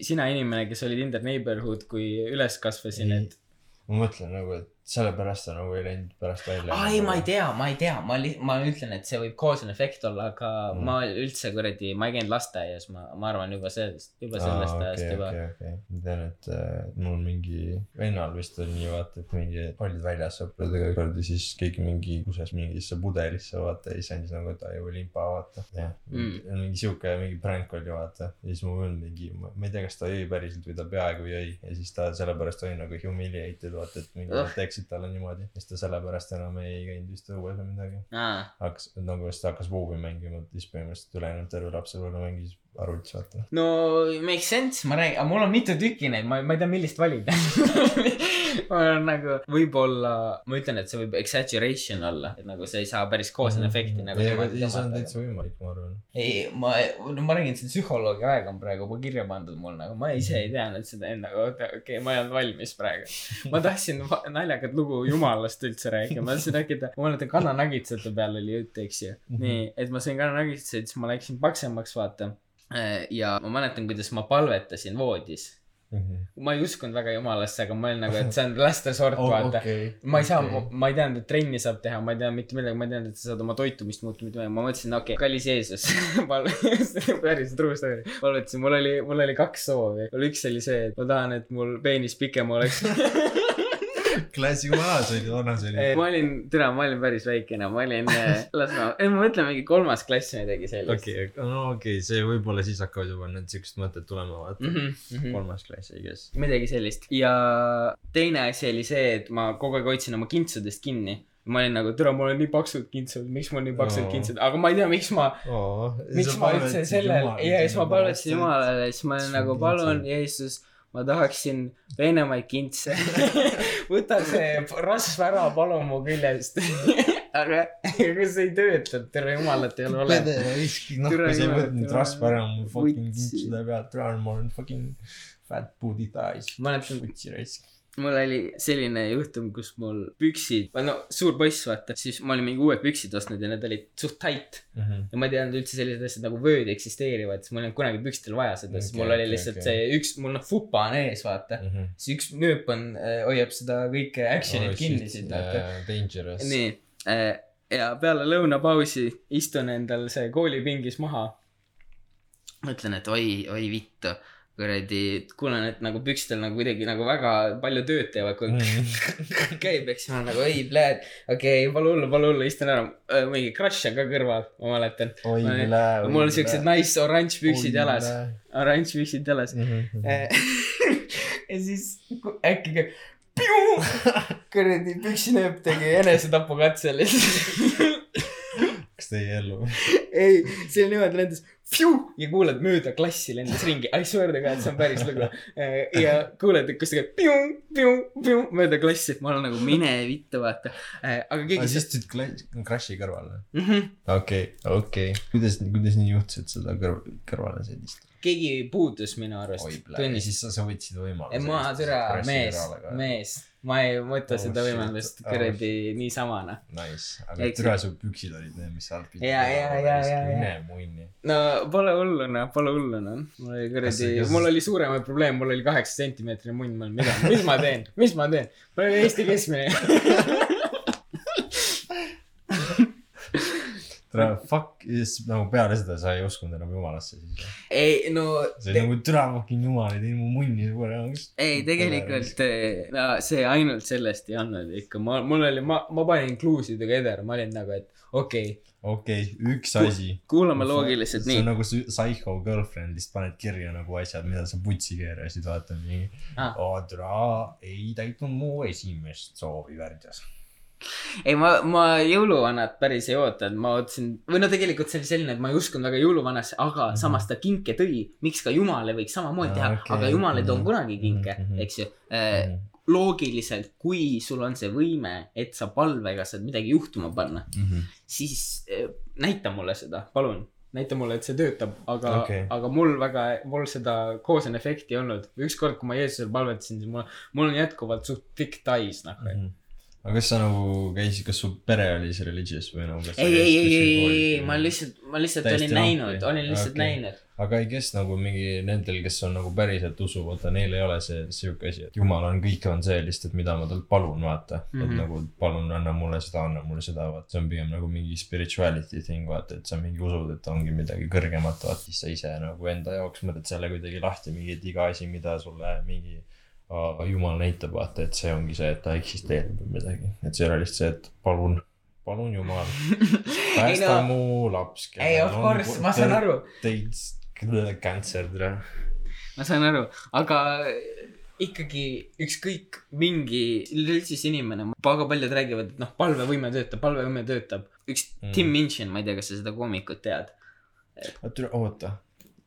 [SPEAKER 1] sina inimene , kes oli Tinder neighborhood , kui üles kasvasin ,
[SPEAKER 2] Ei.
[SPEAKER 1] et .
[SPEAKER 2] ma mõtlen nagu , et sellepärast ta nagu ei läinud pärast välja .
[SPEAKER 1] aa ei , ma ei . tea , ma ei tea , ma li- , ma ütlen , et see võib cause and effect olla , aga mm.
[SPEAKER 2] Mm.
[SPEAKER 1] ma üldse kuradi , ma ei käinud lasteaias , ma , ma arvan juba sellest , juba sellest ajast okay, juba okay. .
[SPEAKER 2] okei , okei , ma tean , et äh, mul mingi vennal vist oli nii vaata , et mingi olid väljas sõpradega kord ja siis keegi mingi kuses mingisse pudelisse vaata ja siis andis nagu taju limpa vaata . jah
[SPEAKER 1] Mm.
[SPEAKER 2] mm. , mingi siuke mingi pränk oli vaata ja siis mu vend mingi , ma ei tea , kas ta jõi päriselt või ta peaaegu jõi ja siis ta sellepärast oli nagu humiliated vaata , et mingi
[SPEAKER 1] Ah.
[SPEAKER 2] oh. teeksid talle niimoodi . ja siis ta sellepärast enam ei käinud vist õues või midagi .
[SPEAKER 1] aa ,
[SPEAKER 2] hakkas nagu siis ta hakkas vuubi mängima , siis põhimõtteliselt ülejäänud terve lapsepõlve mängis arvutis vaata .
[SPEAKER 1] no make sense , ma räägin , aga mul on mitu tükki neid , ma , ma ei tea , millist valida . ma olen nagu , võib-olla , ma ütlen , et see võib exaggeration olla , et nagu see ei saa päris cause and effect'i nagu .
[SPEAKER 2] Mhm. ei , aga ei , see on täitsa võimalik , ma arvan .
[SPEAKER 1] ei , ma , no ma räägin , see on psühholoogi aeg on praegu juba kirja pandud mul nagu , ma ise ei teadnud seda enne , aga oota , okei okay, , ma ei olnud valmis praegu . ma tahtsin va- naljakat lugu jumalast üldse rääkida , ma tahtsin rääkida , ma mäletan kananagitsate peal oli jutt , eks ju . nii , et ma sõin kananagitsaid , siis ma läksin paksemaks , vaata . ja ma mäletan , kuidas ma palvetasin voodis .
[SPEAKER 2] Mhm.
[SPEAKER 1] ma ei uskunud väga jumalasse , aga ma olin nagu , et see on laste sort ,
[SPEAKER 2] Oh,
[SPEAKER 1] vaata . ma ei saa okay. , ma ei teadnud , et trenni saab teha , ma ei teadnud mitte midagi , ma ei teadnud , et sa saad oma toitumist muuta , mitte midagi , ma mõtlesin , okei okay, , kallis Jeesus , päris true story . ma mõtlesin , mul oli , mul oli kaks soovi , mul üks oli see , et ma tahan , et mul peenis pikem oleks .
[SPEAKER 2] klassi vanas oli , vanas oli .
[SPEAKER 1] ma olin , tere , ma olin päris väikene , ma olin , las ma , ei ma mõtlen mingi kolmas klass või midagi sellist .
[SPEAKER 2] okei , no okei , see võib-olla siis hakkavad juba need siuksed mõtted tulema , vaata .
[SPEAKER 1] Mhm,
[SPEAKER 2] kolmas klass , I guess .
[SPEAKER 1] midagi sellist ja teine asi oli see , et ma kogu aeg hoidsin oma kintsudest kinni ma olin nagu , tere , mul on nii paksud kintsud , miks mul nii paksud
[SPEAKER 2] Aa.
[SPEAKER 1] kintsud , aga ma ei tea , miks ma miks ma üldse sellel , ja siis ma palvetasin . Jumalale , siis ma olin
[SPEAKER 2] sul
[SPEAKER 1] nagu
[SPEAKER 2] kintsed-
[SPEAKER 1] palun , Jeesus , ma tahaksin peenemaid kintse . võta see rasv ära , palun mu küljest . aga , aga see ei töötanud , tere jumalat ei ole olemas . Türa
[SPEAKER 2] nahku , noh, sa ei
[SPEAKER 1] jumal,
[SPEAKER 2] võtnud
[SPEAKER 1] türa
[SPEAKER 2] rasva ära mu fucking
[SPEAKER 1] Võtsi.
[SPEAKER 2] kintsude pealt , türa , ma olen fucking fat booty thighs .
[SPEAKER 1] Ma mäletan-
[SPEAKER 2] võtsi raisk .
[SPEAKER 1] mul oli selline juhtum , kus mul püksid , no suur poiss vaata , siis ma olin mingi uued püksid ostnud ja need olid suht tight .
[SPEAKER 2] Mhm,
[SPEAKER 1] ja ma ei teadnud üldse sellised asjad nagu vööd eksisteerivad , siis mul ei olnud kunagi pükstel vaja seda , siis
[SPEAKER 2] Okei,
[SPEAKER 1] mul oli
[SPEAKER 2] okei,
[SPEAKER 1] lihtsalt
[SPEAKER 2] okei.
[SPEAKER 1] see üks , mul noh fupa on ees vaata .
[SPEAKER 2] mhm.
[SPEAKER 1] siis üks nööp on , hoiab seda kõike action'it kinni siin vaata .
[SPEAKER 2] Oh, Dangerous .
[SPEAKER 1] nii , ja peale lõunapausi istun endal see koolipingis maha . mõtlen , et oi , oi vittu , kuradi , kuulen , et nagu pükstel nagu kuidagi nagu väga palju tööd teevad , kui
[SPEAKER 2] Mhm.
[SPEAKER 1] käib , eks ma olen nagu oi , pläät , okei okay, , pole hullu , pole hullu , istun ära . mingi crush on ka kõrval , ma mäletan .
[SPEAKER 2] oi
[SPEAKER 1] Ma-
[SPEAKER 2] üle .
[SPEAKER 1] mul on siuksed nice oranž püksid jalas , oranž püksid jalas .
[SPEAKER 2] Mhm,
[SPEAKER 1] Eh, ja siis ku- äkki ka piu! kuradi püksinööp tegi enesetapukatse lihtsalt .
[SPEAKER 2] kas ta jäi ellu ?
[SPEAKER 1] ei , see oli niimoodi lendas piu! ja kuuled mööda klassi lendas ringi , I swear to god , see on päris lugu . ja kuuled , kus ta käib piu, piu, piu mööda klassi , ma olen nagu mine vittu vaata . aga
[SPEAKER 2] aga
[SPEAKER 1] keegi
[SPEAKER 2] siis tulid kla- , Crashi kõrvale .
[SPEAKER 1] mm . -hmm
[SPEAKER 2] okei , okei . kuidas , kuidas nii juhtus , et seda kõr- , kõrvale sõidist ?
[SPEAKER 1] keegi puudus minu arust
[SPEAKER 2] oi , plää .
[SPEAKER 1] tunnis .
[SPEAKER 2] siis sa , sa võtsid võimaluse .
[SPEAKER 1] ei ma türa mees , mees , ma ei võta
[SPEAKER 2] Oh
[SPEAKER 1] seda
[SPEAKER 2] shit,
[SPEAKER 1] võimalust
[SPEAKER 2] oh
[SPEAKER 1] kuradi niisama noh .
[SPEAKER 2] Nice , aga
[SPEAKER 1] Eks-
[SPEAKER 2] türa su püksid olid need , mis sa alt pidid .
[SPEAKER 1] Ja, ja, ja, ja, ja.
[SPEAKER 2] mine munni .
[SPEAKER 1] no pole hullu noh , pole hullu noh . mul oli kuradi
[SPEAKER 2] Kas- , kas-
[SPEAKER 1] mul oli suuremaid probleeme , mul oli kaheksa sentimeetrine munn , ma olin , mida , mis ma teen , mis ma teen ? mul oli Eesti keskmine .
[SPEAKER 2] tere , fuck , nagu peale seda sa ei uskunud enam jumalasse siis .
[SPEAKER 1] ei no ,
[SPEAKER 2] see oli nagu türa fucking jumal , ei teinud mu munni nagu- korraks .
[SPEAKER 1] ei tegelikult eh, no, see ainult sellest ei olnud ikka , ma , mul oli , ma , ma panin kluusidega eder , ma olin nagu , et okei okay, ,
[SPEAKER 2] okei okay, , üks asi .
[SPEAKER 1] kuulame loogiliselt
[SPEAKER 2] see
[SPEAKER 1] nii
[SPEAKER 2] on . nagu su psycho girlfriend , lihtsalt paned kirja nagu asjad , mida sa putsi keerasid , vaata mingi
[SPEAKER 1] Ah.
[SPEAKER 2] ah. . Adra ei täitnud mu esimest soovi värdjas .
[SPEAKER 1] ei , ma , ma jõuluvanat päris ei ootanud , ma ootasin , või no tegelikult see oli selline , et ma ei uskunud väga jõuluvanasse , aga
[SPEAKER 2] Mhm.
[SPEAKER 1] samas ta kinke tõi . miks ka jumale võiks samamoodi
[SPEAKER 2] Aa,
[SPEAKER 1] teha ,
[SPEAKER 2] okei.
[SPEAKER 1] aga jumal ei too
[SPEAKER 2] Mhm.
[SPEAKER 1] kunagi kinke
[SPEAKER 2] Mhm, mhm. ,
[SPEAKER 1] eks ju . Eh. loogiliselt , kui sul on see võime , et sa palvega saad midagi juhtuma panna ,
[SPEAKER 2] Mhm.
[SPEAKER 1] siis eh, näita mulle seda , palun näita mulle , et see töötab , aga okay.
[SPEAKER 2] Okei. ,
[SPEAKER 1] aga mul väga , mul seda koosenefekti ei olnud . ükskord , kui ma Jeesusele palvetasin , siis mul , mul on jätkuvalt suht thick ties nagu , et
[SPEAKER 2] Mhm. aga kas sa nagu käisid , kas su pere oli siis religious või nagu ?
[SPEAKER 1] ei , ei , ei , ei , ei , ei , ma . lihtsalt , ma lihtsalt
[SPEAKER 2] Täiesti
[SPEAKER 1] olin näinud ,
[SPEAKER 2] lahti.
[SPEAKER 1] olin lihtsalt
[SPEAKER 2] Okei.
[SPEAKER 1] okay. näinud .
[SPEAKER 2] aga ei , kes nagu mingi nendel , kes on nagu päriselt usu , vaata neil ei ole see sihuke asi , et jumal on , kõik on see lihtsalt , mida ma talt palun , vaata mm . -hmm.
[SPEAKER 1] Mhm.
[SPEAKER 2] et nagu palun , anna mulle seda , anna mulle seda , vaata , see on pigem nagu mingi spirituality thing , vaata , et sa mingi usud , et ongi midagi kõrgemat , vaata , siis sa ise nagu enda jaoks mõtled selle kuidagi lahti , mingi , et iga asi , mida sulle mingi a- jumal näitab , vaata , et see ongi see , et ta eksisteerib või midagi , et see ei ole lihtsalt see , et palun , palun jumal ,
[SPEAKER 1] ei
[SPEAKER 2] päästa
[SPEAKER 1] no ,
[SPEAKER 2] mu laps .
[SPEAKER 1] ei of course , ma saan aru ,
[SPEAKER 2] teid cancer tere .
[SPEAKER 1] ma saan aru , aga ikkagi ükskõik mingi üldse inimene , väga paljud räägivad , et noh , palvevõime töötab , palvevõime töötab . üks
[SPEAKER 2] Mm.
[SPEAKER 1] mm. Tim Minchin , ma ei tea , kas sa seda koomikut tead .
[SPEAKER 2] oota , oota ,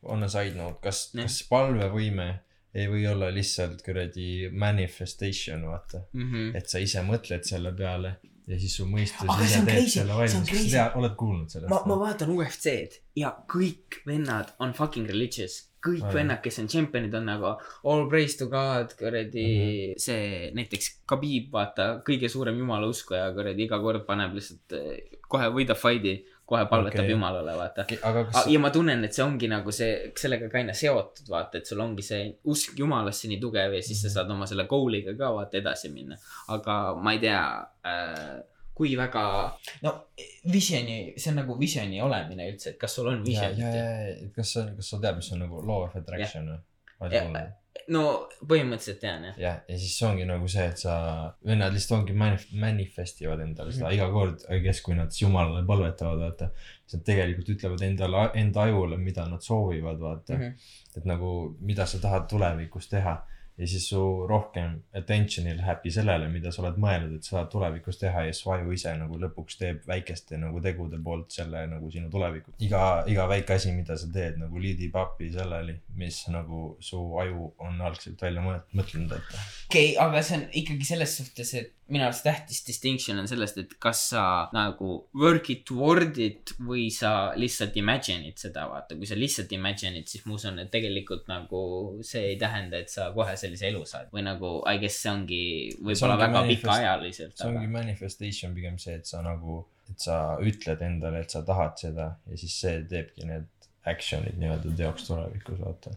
[SPEAKER 2] on a side note , kas ,
[SPEAKER 1] Jah.
[SPEAKER 2] kas palvevõime ei või olla lihtsalt kuradi manifestation , vaata ,
[SPEAKER 1] Mm -hmm.
[SPEAKER 2] et sa ise mõtled selle peale ja siis su mõistus
[SPEAKER 1] Aga see
[SPEAKER 2] ise
[SPEAKER 1] on
[SPEAKER 2] teeb
[SPEAKER 1] crazy,
[SPEAKER 2] selle
[SPEAKER 1] see on
[SPEAKER 2] valmis , kas
[SPEAKER 1] crazy.
[SPEAKER 2] sa tead , oled kuulnud sellest
[SPEAKER 1] ma , ma vaatan UFC-d ja kõik vennad on fucking religious . kõik
[SPEAKER 2] Aa,
[SPEAKER 1] mm.
[SPEAKER 2] jah.
[SPEAKER 1] vennad , kes on tšempionid , on nagu all praise to god , kuradi mm .
[SPEAKER 2] Mhm.
[SPEAKER 1] -hmm. see näiteks Khabib , vaata , kõige suurem jumala uskuja , kuradi iga kord paneb lihtsalt , kohe võidab fight'i , kohe palvetab
[SPEAKER 2] Okei.
[SPEAKER 1] okay. jumalale , vaata .
[SPEAKER 2] Okei, aga kas ,
[SPEAKER 1] ja ma tunnen , et see ongi nagu see , sellega ka aina seotud , vaata , et sul ongi see usk jumalasse nii tugev ja siis sa saad oma selle goal'iga ka vaata edasi minna . aga ma ei tea äh, , kui väga , no visiooni , see on nagu visiooni olemine üldse , et kas sul on
[SPEAKER 2] ja ,
[SPEAKER 1] visioonid
[SPEAKER 2] ja ,
[SPEAKER 1] yeah, ?
[SPEAKER 2] ja , ja kas sa , kas sa tead , mis on nagu law of attraction või ? oled
[SPEAKER 1] Jah.
[SPEAKER 2] kuulnud ?
[SPEAKER 1] Yeah. no põhimõtteliselt tean jah .
[SPEAKER 2] jah , ja siis see ongi nagu see , et sa , vennad lihtsalt ongi manif- , manifestivad endale seda iga kord , kes , kui nad jumalale palvetavad , vaata . siis nad tegelikult ütlevad endale , enda ajule , mida nad soovivad , vaata mm .
[SPEAKER 1] Mhm.
[SPEAKER 2] -hmm. et nagu , mida sa tahad tulevikus teha . ja siis su rohkem attention'i lähebki sellele , mida sa oled mõelnud , et sa tahad tulevikus teha ja su aju ise nagu lõpuks teeb väikeste nagu tegude poolt selle nagu sinu tuleviku . iga , iga väike asi , mida sa teed nagu lead ib up'i selleni , mis nagu su aju on algselt välja mõelt- mõtlenud , et
[SPEAKER 1] okei okay, , aga see on ikkagi selles suhtes , et minu arust tähtis distinction on sellest , et kas sa nagu work it toward it või sa lihtsalt imagine'id seda , vaata . kui sa lihtsalt imagine'id , siis ma usun , et tegelikult nagu see ei tähenda , et sa kohe sellise elu saad või nagu I guess see ongi võib-olla
[SPEAKER 2] ongi
[SPEAKER 1] väga
[SPEAKER 2] manifest-
[SPEAKER 1] pikaajaliselt ,
[SPEAKER 2] see
[SPEAKER 1] aga
[SPEAKER 2] ongi manifestation pigem see , et sa nagu , et sa ütled endale , et sa tahad seda ja siis see teebki need action'id nii-öelda teoks tulevikus , vaata .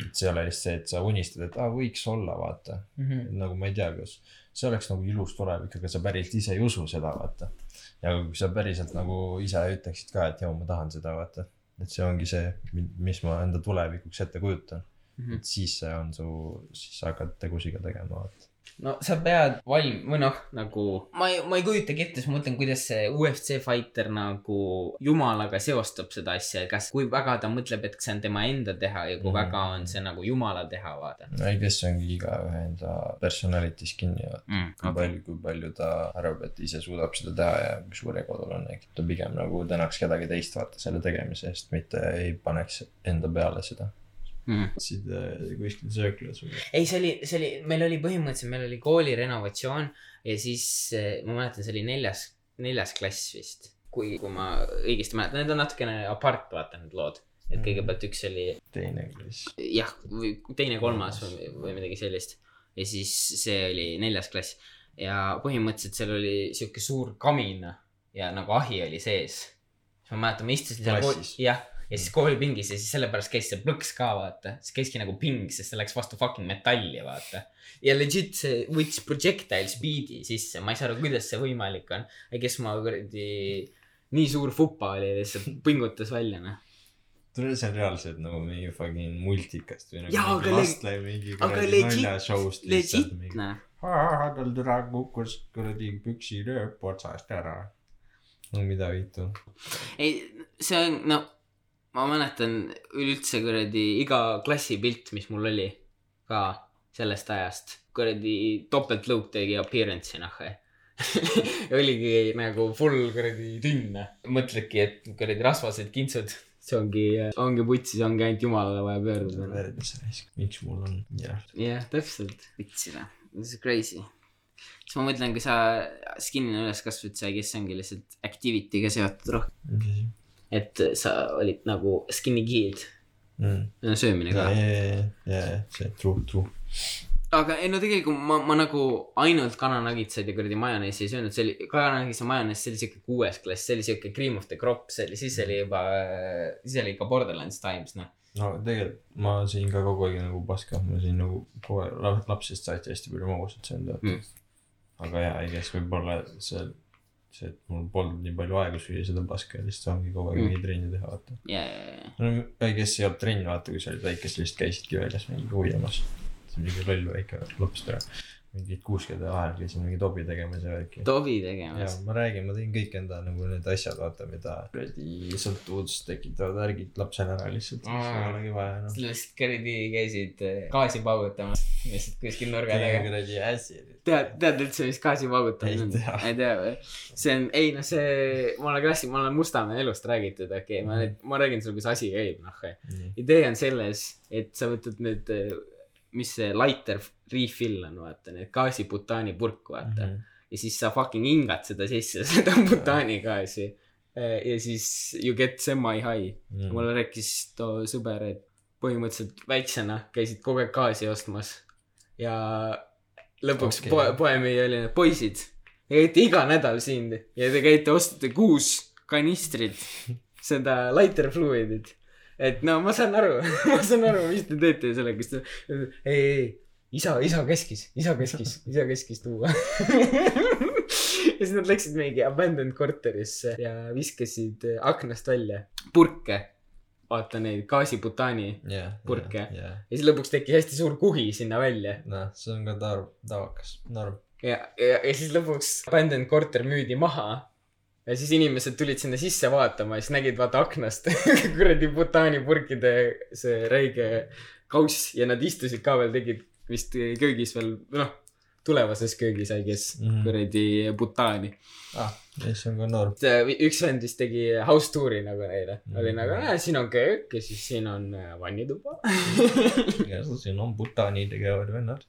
[SPEAKER 2] et see ei ole lihtsalt see , et sa unistad , et aa , võiks olla , vaata .
[SPEAKER 1] mm . -hmm.
[SPEAKER 2] nagu ma ei tea , kas see oleks nagu ilus tulevik , aga sa päriselt ise ei usu seda , vaata . ja kui sa päriselt nagu ise ütleksid ka , et joo , ma tahan seda , vaata . et see ongi see , mis ma enda tulevikuks ette kujutan .
[SPEAKER 1] Mhm.
[SPEAKER 2] et siis see on su , siis sa hakkad tegusid ka tegema , vaata .
[SPEAKER 1] no sa pead valm- , või noh , nagu ma ei , ma ei kujutagi ette , siis ma mõtlen , kuidas see UFC fighter nagu jumalaga seostab seda asja , kas , kui väga ta mõtleb , et see on tema enda teha ja kui
[SPEAKER 2] Mhm.
[SPEAKER 1] mm. väga on see nagu jumala teha , vaata
[SPEAKER 2] ei , kes ongi igaühe enda personality's kinni , vaata .
[SPEAKER 1] mm,
[SPEAKER 2] kui . palju , kui palju ta arvab , et ise suudab seda teha ja kui suur egotul on , ehk ta pigem nagu tänaks kedagi teist vaata selle tegemise eest , mitte ei paneks enda peale seda .
[SPEAKER 1] Mm.
[SPEAKER 2] siin äh, kuskil sööklas või ?
[SPEAKER 1] ei , see oli , see oli , meil oli põhimõtteliselt , meil oli kooli renovatsioon ja siis eh, ma mäletan , see oli neljas , neljas klass vist , kui , kui ma õigesti mäletan , need on natukene apart , vaata need lood , et
[SPEAKER 2] Mhm.
[SPEAKER 1] kõigepealt üks oli
[SPEAKER 2] teine klass .
[SPEAKER 1] jah , või teine , kolmas või , või midagi sellist . ja siis see oli neljas klass ja põhimõtteliselt seal oli sihuke suur kamin ja nagu ahi oli sees . siis ma mäletan , ma istusin seal koolis
[SPEAKER 2] Klassis? , Mm.
[SPEAKER 1] jah , ja siis koolipingis ja siis sellepärast käis see plõks ka vaata , siis käiski nagu ping , sest see läks vastu fucking metalli , vaata . ja legit see võttis projectile speed'i sisse , ma ei saa aru , kuidas see võimalik on , kes ma kuradi nii suur fupa oli lihtsalt , pingutas välja noh .
[SPEAKER 2] tule see on reaalselt nagu mingi fucking multikast või
[SPEAKER 1] Jaa,
[SPEAKER 2] nagu
[SPEAKER 1] aga
[SPEAKER 2] mingi
[SPEAKER 1] le-
[SPEAKER 2] Lastlai mingi
[SPEAKER 1] aga
[SPEAKER 2] kuradi
[SPEAKER 1] legit-
[SPEAKER 2] naljashow'st
[SPEAKER 1] legit
[SPEAKER 2] lihtsalt mingi .
[SPEAKER 1] noh ,
[SPEAKER 2] tal türa kukkus kuradi püksi rööp otsast ära . no mida viitu .
[SPEAKER 1] ei see on no , ma mäletan üldse kuradi iga klassipilt , mis mul oli ka sellest ajast , kuradi topeltlõuk tegi appearance'i noh . oligi nagu full kuradi tünn . mõtledki , et kuradi rasvased kintsud . see ongi , ongi putsi , see ongi ainult jumalale vaja pöörduda noh.
[SPEAKER 2] miks mul on , jah .
[SPEAKER 1] jah , täpselt . vitsi noh , see on crazy . siis ma mõtlen , kui sa skin'ina üles kasvad , sa , kes ongi lihtsalt activity'ga seotud rohkem ,
[SPEAKER 2] mis asi ?
[SPEAKER 1] et sa olid nagu skinny kid ,
[SPEAKER 2] jaa ,
[SPEAKER 1] no söömine ka
[SPEAKER 2] Mm. jaa , jaa , jaa , see true , true .
[SPEAKER 1] aga ei no tegelikult ma , ma nagu ainult kananagitsaid ja kuradi majoneesi ei söönud , see oli , kananagits ja majonees , see oli siuke kuues klass , see oli siuke cream of the crop , see oli , siis oli juba , siis oli ikka Borderlands Times noh .
[SPEAKER 2] no tegelikult ma sõin ka kogu aeg nagu paska , ma sõin nagu kogu aeg la- lapsest saati hästi palju magusat söönud
[SPEAKER 1] Mm.
[SPEAKER 2] mm. . aga jaa , I guess võib-olla see , see , et mul polnud nii palju aega süüa seda paska ja lihtsalt ongi kogu aeg
[SPEAKER 1] Mm.
[SPEAKER 2] mm. mingi trenni teha , vaata .
[SPEAKER 1] ja , ja , ja ,
[SPEAKER 2] no I guess ei olnud trenn , vaata , kui sa olid väike , siis lihtsalt käisidki väljas mingi ujumas . see on mingi loll väike laps täna . mingid kuuskümmend vahel käisin mingi tobi tegemas ja värki .
[SPEAKER 1] tobi
[SPEAKER 2] ja
[SPEAKER 1] tegemas .
[SPEAKER 2] ma räägin , ma tegin kõik enda nagu need asjad , vaata , mida kuradi sõltuvust tekitavad värgid lapsena ära lihtsalt . siis ei
[SPEAKER 1] Aa.
[SPEAKER 2] olegi vaja noh. enam .
[SPEAKER 1] lihtsalt kuradi käisid eh, gaasi paugutamas lihtsalt kuskil nurga taga .
[SPEAKER 2] kuradi äsi .
[SPEAKER 1] tead , tead üldse , mis gaasipaugutamine
[SPEAKER 2] Ei
[SPEAKER 1] on
[SPEAKER 2] tea. ?
[SPEAKER 1] ei tea või ? see on , ei no see , ma olen klassi , ma olen Mustamäe elust räägitud , okei okay, , ma nüüd , ma räägin sulle , kuidas asi käib , noh . idee on selles , et sa võtad need , mis see lighter refill on , vaata , need gaasibutaani purk , vaata
[SPEAKER 2] Mhm.
[SPEAKER 1] mm . -hmm. ja siis sa fucking hingad seda sisse , seda butaani gaasi . ja siis you get semi-high .
[SPEAKER 2] Mhm.
[SPEAKER 1] mulle rääkis too sõber , et põhimõtteliselt väiksena käisid kogu aeg gaasi ostmas ja lõpuks okay.
[SPEAKER 2] Okei.
[SPEAKER 1] poe , poemüüja oli , poisid , te käite iga nädal siin ja te käite , ostate kuus kanistrit seda lighter fluid'it . et no ma saan aru , ma saan aru , mis te teete sellega , siis ta , ei , ei , isa , isa käskis , isa käskis , isa käskis tuua ja siis nad läksid mingi abandoned korterisse ja viskasid aknast välja purke , vaata neid gaasibutaani
[SPEAKER 2] jah .
[SPEAKER 1] Purke.
[SPEAKER 2] jah ,
[SPEAKER 1] ja siis lõpuks tekkis hästi suur kuhi sinna välja
[SPEAKER 2] noh , see on ka tar- , tavakas , norm .
[SPEAKER 1] ja , ja , ja siis lõpuks abandoned korter müüdi maha . ja siis inimesed tulid sinna sisse vaatama ja siis nägid vaata aknast kuradi butaanipurkide see räige kauss ja nad istusid ka veel , tegid vist köögis veel , noh , tulevases köögis , I guess mm ,
[SPEAKER 2] Mhm.
[SPEAKER 1] -hmm. kuradi butaani .
[SPEAKER 2] ah , see on ka norm .
[SPEAKER 1] üks vend vist tegi house tour'i nagu neile mm , -hmm. oli
[SPEAKER 2] Mhm.
[SPEAKER 1] nagu , näe , siin on köök ja siis siin on äh, vannituba .
[SPEAKER 2] siin on butani tegevad vennad .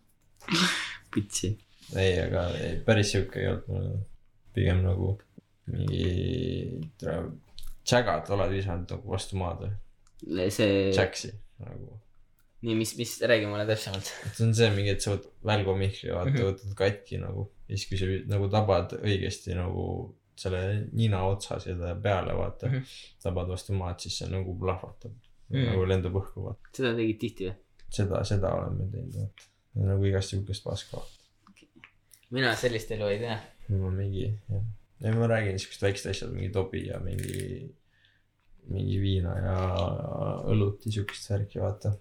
[SPEAKER 1] pitsi .
[SPEAKER 2] ei , aga ei, päris sihuke ei olnud mul . pigem nagu mingi tra- tšägad oled visanud nagu vastu maad või ,
[SPEAKER 1] see ,
[SPEAKER 2] tšäksi nagu .
[SPEAKER 1] nii , mis , mis , räägi mulle täpsemalt .
[SPEAKER 2] see on see mingi , et sa võtad välgu mihkli ,
[SPEAKER 1] Mhm.
[SPEAKER 2] vaata , võtad katki nagu ja siis , kui sa vi- nagu tabad õigesti nagu selle nina otsa selle peale , vaata mm ,
[SPEAKER 1] Mhm.
[SPEAKER 2] -hmm. tabad vastu maad , siis see nagu plahvatab mm ,
[SPEAKER 1] Mhm.
[SPEAKER 2] -hmm. nagu lendab õhku , vaata .
[SPEAKER 1] seda tegid tihti või ?
[SPEAKER 2] seda , seda oleme teinud , vaata . nagu igast sihukest paska .
[SPEAKER 1] mina sellist elu ei tea .
[SPEAKER 2] ma mingi , jah . ei , ma räägin sihukest väikest asja , mingi tobi ja mingi , mingi viina ja õlut ja sihukest värki , vaata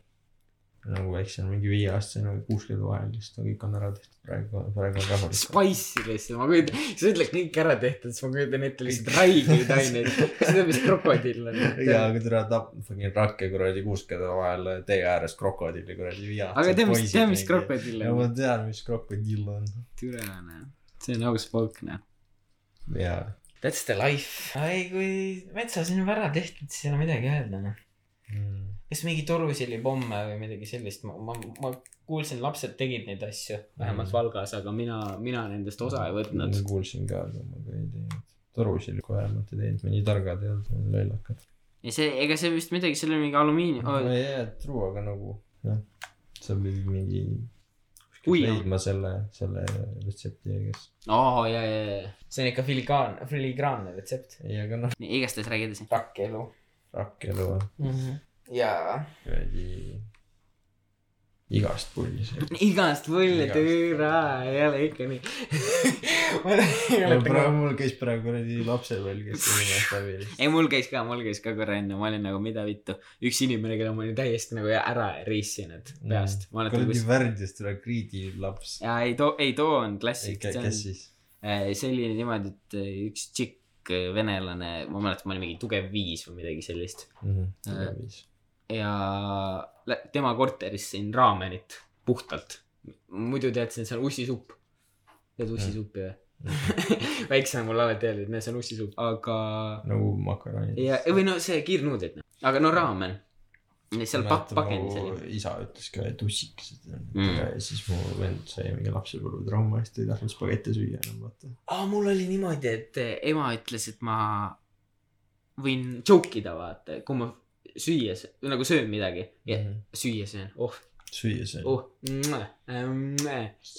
[SPEAKER 2] nagu väiksem , mingi viieaastasena või kuuskümmend vahel , siis ta kõik on ära tehtud , praegu , praegu on rahulik .
[SPEAKER 1] Spice'i lihtsalt , ma kujutan , sa ütled kõik ära tehtud , siis ma kujutan ette lihtsalt raigeid aineid . sa tead , mis krokodill on .
[SPEAKER 2] jaa , aga türa tap- , fucking rakke kuradi kuuskede vahel tee ääres krokodilli kuradi viia .
[SPEAKER 1] aga tea , mis , tea , mis ? krokodill
[SPEAKER 2] ja
[SPEAKER 1] on
[SPEAKER 2] ma ? tean , mis krokodill on .
[SPEAKER 1] türane . see on aus pauk , noh .
[SPEAKER 2] jaa .
[SPEAKER 1] That's the life . ei , kui metsas on juba ära tehtud , siis ei ole midagi öelda , noh .
[SPEAKER 2] Mm.
[SPEAKER 1] kas mingi torusilipomme või midagi sellist , ma , ma , ma kuulsin , lapsed tegid neid asju . vähemalt
[SPEAKER 2] Mm.
[SPEAKER 1] Valgas , aga mina , mina nendest osa ei võtnud .
[SPEAKER 2] ma kuulsin ka , aga ma ka ei teinud . torusil kohe vähemalt ei teinud , me nii targad ei olnud , me olime lollakad .
[SPEAKER 1] ja see , ega see vist midagi , seal oli mingi alumiinium .
[SPEAKER 2] jaa , true , aga nagu jah , sa pidid mingi
[SPEAKER 1] Kui-
[SPEAKER 2] kuskilt leidma selle , selle retsepti , kes .
[SPEAKER 1] aa , ja , ja , ja . see on ikka filigraan , filigraanne retsept .
[SPEAKER 2] ei , aga noh ,
[SPEAKER 1] nii , igastahes räägi edasi .
[SPEAKER 3] rakkelu
[SPEAKER 2] rakkelu on
[SPEAKER 3] jaa
[SPEAKER 2] kuradi
[SPEAKER 4] igast pullis .
[SPEAKER 1] igast võlle
[SPEAKER 4] Igast.
[SPEAKER 1] türa , ei ole ikka nii Ma mäletan ka-
[SPEAKER 2] praegu mul käis praegu kuradi lapsepõlv käis inimest läbi lihtsalt .
[SPEAKER 1] ei , mul käis ka , mul käis ka korra enne , ma olin nagu mida vittu , üks inimene , kelle ma olin täiesti nagu ära rissinud peast , ma mäletan
[SPEAKER 2] kuradi
[SPEAKER 1] kus .
[SPEAKER 2] värdjast üle kriidi laps .
[SPEAKER 1] ja ei too , ei too on klassik , see on Äh,
[SPEAKER 2] kes , siis ?
[SPEAKER 1] see oli niimoodi , et äh, üks tšikk äh, venelane , ma mäletan , ma olin mingi tugev viis või midagi sellist
[SPEAKER 2] Mhm,
[SPEAKER 1] Äh. ja lä- tema korteris sõin raamenit puhtalt . muidu tead , see on seal ussisupp . tead ussisuppi või ? väiksena mulle alati öeldi , et näe , see on ussisupp , aga
[SPEAKER 4] nagu makaronid .
[SPEAKER 1] ja või no see kiirnuudlid , aga no raamen . seal pakk , pakendis oli ..
[SPEAKER 4] isa ütles ka , et ussikesed on
[SPEAKER 1] Mm.
[SPEAKER 4] ja siis mu vend sai mingi lapsepõlvetrauma eest , ei tahtnud spagette süüa enam vaata .
[SPEAKER 1] aa , mul oli niimoodi , et ema ütles , et ma võin joke ida , vaata , kui ma süües , nagu söön midagi ja
[SPEAKER 2] Mhm.
[SPEAKER 1] süüa söön , oh
[SPEAKER 4] süüa sai .
[SPEAKER 1] oh , mm-,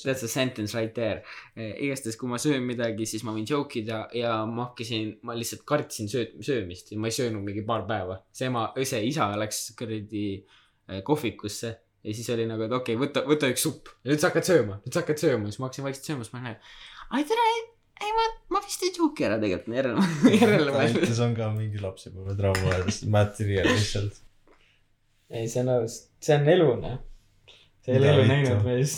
[SPEAKER 1] that's a sentence right there . igastahes , kui ma söön midagi , siis ma võin joke ida ja ma hakkasin , ma lihtsalt kartsin sööt- , söömist ja ma ei söönud mingi paar päeva . see ema , see isa läks kuradi eh, kohvikusse ja siis oli nagu , et okei okay, , võta , võta üks supp ja nüüd sa hakkad sööma , nüüd sa hakkad sööma , siis ma hakkasin vaikselt sööma , siis ma olin nagu , ai tere , ei ma , ma vist ei joke'i ära tegelikult , järele , järele
[SPEAKER 2] ta
[SPEAKER 1] mõeldes .
[SPEAKER 2] ütles , on ka mingi lapsepõlvetrauma ja siis materjal lihtsalt .
[SPEAKER 1] ei , see on aus , see on elu , noh .
[SPEAKER 2] ei ole elu näinud,
[SPEAKER 1] mees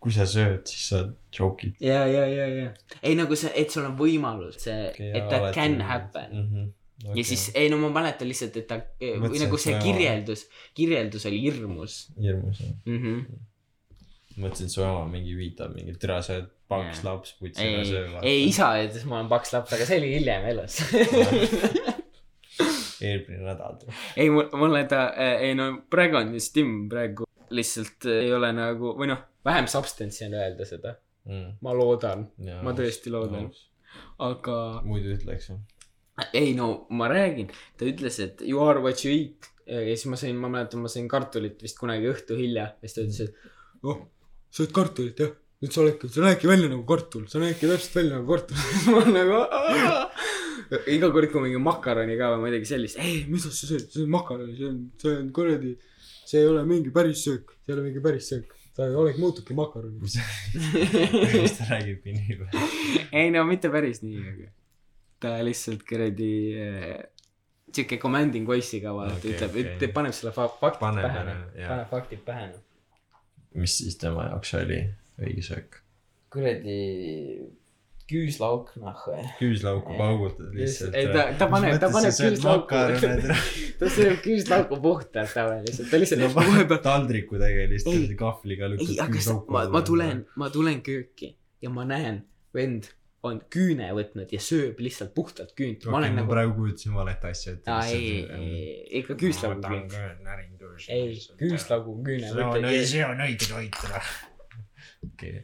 [SPEAKER 2] kui sa sööd , siis sa joke'id .
[SPEAKER 1] ja , ja , ja , ja ei nagu see , et sul on võimalus , see , et that can happen mm .
[SPEAKER 2] Mhm.
[SPEAKER 1] -hmm. ja siis , ei no ma mäletan lihtsalt , et ta või
[SPEAKER 2] Mõtlesin,
[SPEAKER 1] nagu
[SPEAKER 2] et
[SPEAKER 1] see
[SPEAKER 2] sa-
[SPEAKER 1] kirjeldus , kirjeldus oli hirmus
[SPEAKER 2] hirmus jah .
[SPEAKER 1] mm . -hmm.
[SPEAKER 2] mõtlesin , et su ema mingi viitab mingi türa , sa oled paks
[SPEAKER 1] Jaa.
[SPEAKER 2] laps , putsi ära
[SPEAKER 1] ei
[SPEAKER 2] söö .,
[SPEAKER 1] ei . isa ütles , ma olen paks laps , aga see oli hiljem elus .
[SPEAKER 2] eelmine nädal .
[SPEAKER 1] ei , mul , mulle ta , ei no praegu on just Tim praegu lihtsalt ei ole nagu või noh , vähem substance'i on öelda seda ,
[SPEAKER 2] Mm.
[SPEAKER 1] ma loodan , ma tõesti loodan , aga
[SPEAKER 2] muidu ütleks ju .
[SPEAKER 1] ei no ma räägin , ta ütles , et you are what you eat ja siis ma sain , ma mäletan , ma sain kartulit vist kunagi õhtu hilja ja siis ta ütles , et oh , sööd kartulit jah , nüüd sa oledki , sa näedki välja nagu kartul , sa näedki täpselt välja nagu kartul . ma olen nagu "Aa." iga kord , kui mingi makaroni ka või midagi sellist , ei , mis sa sööd , see on makaroni , see on , see on kuradi , see ei ole mingi päris söök , see ei ole mingi päris söök , sa oled , muutudki makaroniks .
[SPEAKER 2] mis ta räägib nii palju .
[SPEAKER 1] ei no mitte päris nii , aga ta lihtsalt kuradi äh, sihuke commanding voice'iga vaata okay,
[SPEAKER 2] Okei,
[SPEAKER 1] ütleb
[SPEAKER 2] okei.
[SPEAKER 1] okay. , ütleb , paneb selle fa- faktid
[SPEAKER 2] Paneb
[SPEAKER 1] paneb pähe
[SPEAKER 2] ära, , jah.
[SPEAKER 1] paneb faktid pähe . noh.
[SPEAKER 2] mis siis tema jaoks oli õige söök ?
[SPEAKER 1] kuradi küüslauk noh või .
[SPEAKER 2] küüslauku paugutad lihtsalt .
[SPEAKER 1] ei ta , ta paneb , ta paneb küüslauku , ta sööb küüslauku puhtalt tavaliselt , ta lihtsalt vahepeal ,
[SPEAKER 2] taldriku tegelikult
[SPEAKER 1] Ei.
[SPEAKER 2] lihtsalt kahvliga
[SPEAKER 1] ei aga sa- ma , ma tulen , ma tulen kööki ja ma näen , vend on küüne võtnud ja sööb lihtsalt puhtalt küünt , ma olen nagu ,
[SPEAKER 2] praegu kujutasin valet asja ette
[SPEAKER 1] ei , ei , ikka küüslauku küünt . ei , küüslagu on küüne , võtab ,
[SPEAKER 2] see on õige toit ära . okei ,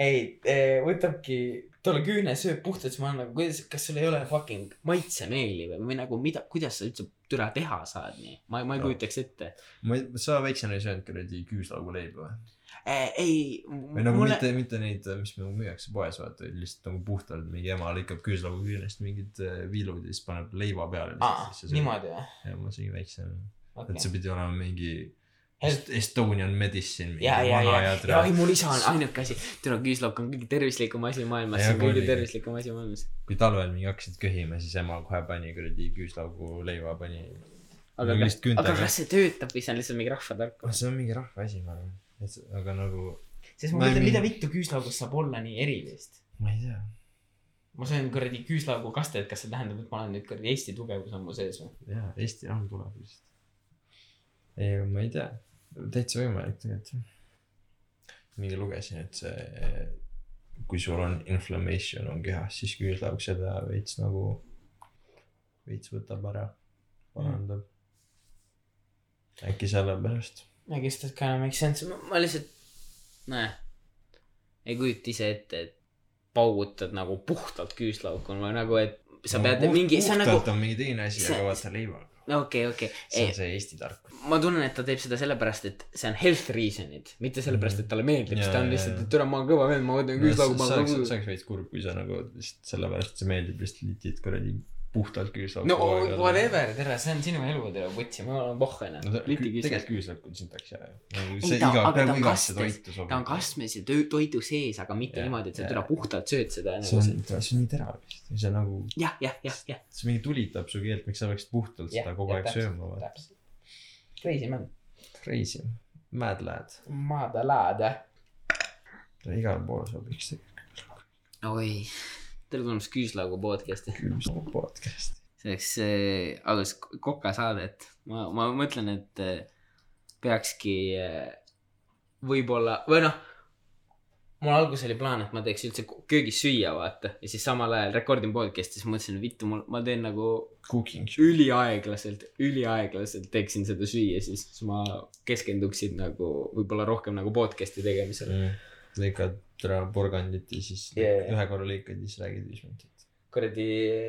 [SPEAKER 1] ei , võtabki , tal on küüne , sööb puhtalt , siis ma olen nagu , kuidas , kas sul ei ole fucking maitsemeeli või , või nagu mida , kuidas sa üldse türa teha saad nii , ma , ma ei
[SPEAKER 2] Jah.
[SPEAKER 1] kujutaks ette .
[SPEAKER 2] ma , sa väiksena ei söönud kuradi küüslauguleiba või ?
[SPEAKER 1] Eh, ei ,
[SPEAKER 2] või nagu
[SPEAKER 1] mulle ,
[SPEAKER 2] mitte , mitte neid , mis nagu müüakse poes vaata , lihtsalt nagu puhtalt mingi ema lõikab küüslaugu küünest mingid eh, viilud ja siis paneb leiva peale .
[SPEAKER 1] niimoodi või ?
[SPEAKER 2] ja ma sõin väiksena , et see
[SPEAKER 1] okei ,
[SPEAKER 2] pidi olema mingi
[SPEAKER 1] Health-
[SPEAKER 2] Est- Estonian medicine .
[SPEAKER 1] ja , ja , ja , ja ei , mul isa on ainuke asi , türa küüslauk on kõige tervislikum asi maailmas ,
[SPEAKER 2] Ei,
[SPEAKER 1] see on
[SPEAKER 2] aga
[SPEAKER 1] kõige
[SPEAKER 2] oli-
[SPEAKER 1] tervislikum asi maailmas .
[SPEAKER 2] kui talvel mingi hakkasid köhima , siis ema kohe pani kuradi küüslaugu leiva pani .
[SPEAKER 1] aga kas
[SPEAKER 2] Mingi lihtsalt , küüntega.
[SPEAKER 1] aga kas see töötab või see on lihtsalt mingi rahvatarkus ?
[SPEAKER 2] see on mingi rahva asi , ma arvan , et see- aga nagu
[SPEAKER 1] sest ma
[SPEAKER 2] Ma ei
[SPEAKER 1] mõtlen ,
[SPEAKER 2] mi-
[SPEAKER 1] mida vittu küüslaugust saab olla nii erilist
[SPEAKER 2] ma ei tea ,
[SPEAKER 1] ma söön kuradi küüslaugu kastet , kas see tähendab , et ma olen nüüd kuradi Eesti tugevus on mu sees või ?
[SPEAKER 2] jaa , Eesti on tulevikus . ei , aga ma ei tea , täitsa võimalik tegelikult . mingi lugesin , et see , kui sul on inflammation on kehas , siis küüslauk seda veits nagu , veits võtab ära , parandab mm. äkki sellepärast ,
[SPEAKER 1] I guess that kind of makes sense , ma lihtsalt , nojah , ei kujuta ise ette , et paugutad nagu puhtalt küüslauku või nagu , et sa pead no,
[SPEAKER 2] puht-
[SPEAKER 1] mingi , see on nagu ,
[SPEAKER 2] puhtalt on mingi teine asi ,
[SPEAKER 1] see-
[SPEAKER 2] aga vaata leivaga .
[SPEAKER 1] okei , okei ,
[SPEAKER 2] see on see Eesti tarkus .
[SPEAKER 1] ma tunnen , et ta teeb seda sellepärast , et see on health reason'id , mitte sellepärast , et talle meeldib , sest ta on
[SPEAKER 2] Mhm. Jaa,
[SPEAKER 1] lihtsalt ,
[SPEAKER 2] jaa,
[SPEAKER 1] et türa , ma olen kõva vend , ma võtan
[SPEAKER 2] see
[SPEAKER 1] küüslaugu , ma
[SPEAKER 2] oleks ,
[SPEAKER 1] olen
[SPEAKER 2] see
[SPEAKER 1] kõva .
[SPEAKER 2] nagu oleks veits kurb , kui sa nagu lihtsalt sellepärast , et see meeldib lihtsalt litid kuradi puhtalt küüslauku .
[SPEAKER 1] no o- whatever , tere , see on sinu elu , tere , putsi , ma olen pohhane
[SPEAKER 2] no ta ,
[SPEAKER 1] liti
[SPEAKER 2] tegelikult
[SPEAKER 1] küsis .
[SPEAKER 2] küüslauk on sintaks hea ju .
[SPEAKER 1] Ei,
[SPEAKER 2] see
[SPEAKER 1] ta-
[SPEAKER 2] iga ,
[SPEAKER 1] aga ta
[SPEAKER 2] peaaegu
[SPEAKER 1] on
[SPEAKER 2] igasse
[SPEAKER 1] kastes-
[SPEAKER 2] toitu sobib .
[SPEAKER 1] ta on kastmes ja töö- toidu sees , aga mitte
[SPEAKER 2] Jah,
[SPEAKER 1] niimoodi , et sa
[SPEAKER 2] jah.
[SPEAKER 1] täna puhtalt sööd seda .
[SPEAKER 2] see on , see on nii terav vist , see nagu ,
[SPEAKER 1] jah , jah , jah , jah .
[SPEAKER 2] see mingi tulitab su keelt , miks sa peaksid puhtalt seda kogu aeg sööma või ?
[SPEAKER 1] täpselt . Crazy man .
[SPEAKER 2] Crazy , mad lad ,
[SPEAKER 1] Madalada .
[SPEAKER 2] igale poole sobiks see
[SPEAKER 1] oi , tere tulemast Küüslaugu podcast'i .
[SPEAKER 2] külmsauk podcast .
[SPEAKER 1] see oleks äh, alles kokasaadet . ma , ma mõtlen , et äh, peakski äh, võib-olla või noh , mul alguses oli plaan , et ma teeks üldse ko- köögis süüa , vaata , ja siis samal ajal rekordin podcast'i , siis mõtlesin , vittu , mul , ma teen nagu
[SPEAKER 2] Cooking .
[SPEAKER 1] üliaeglaselt , üliaeglaselt teeksin seda süüa , siis siis ma keskenduksin nagu võib-olla rohkem nagu podcast'i tegemisele .
[SPEAKER 2] lõikad ära porgandit ja siis
[SPEAKER 1] Yeah.
[SPEAKER 2] ühe korra lõikad ja siis räägid viis minutit .
[SPEAKER 1] kuradi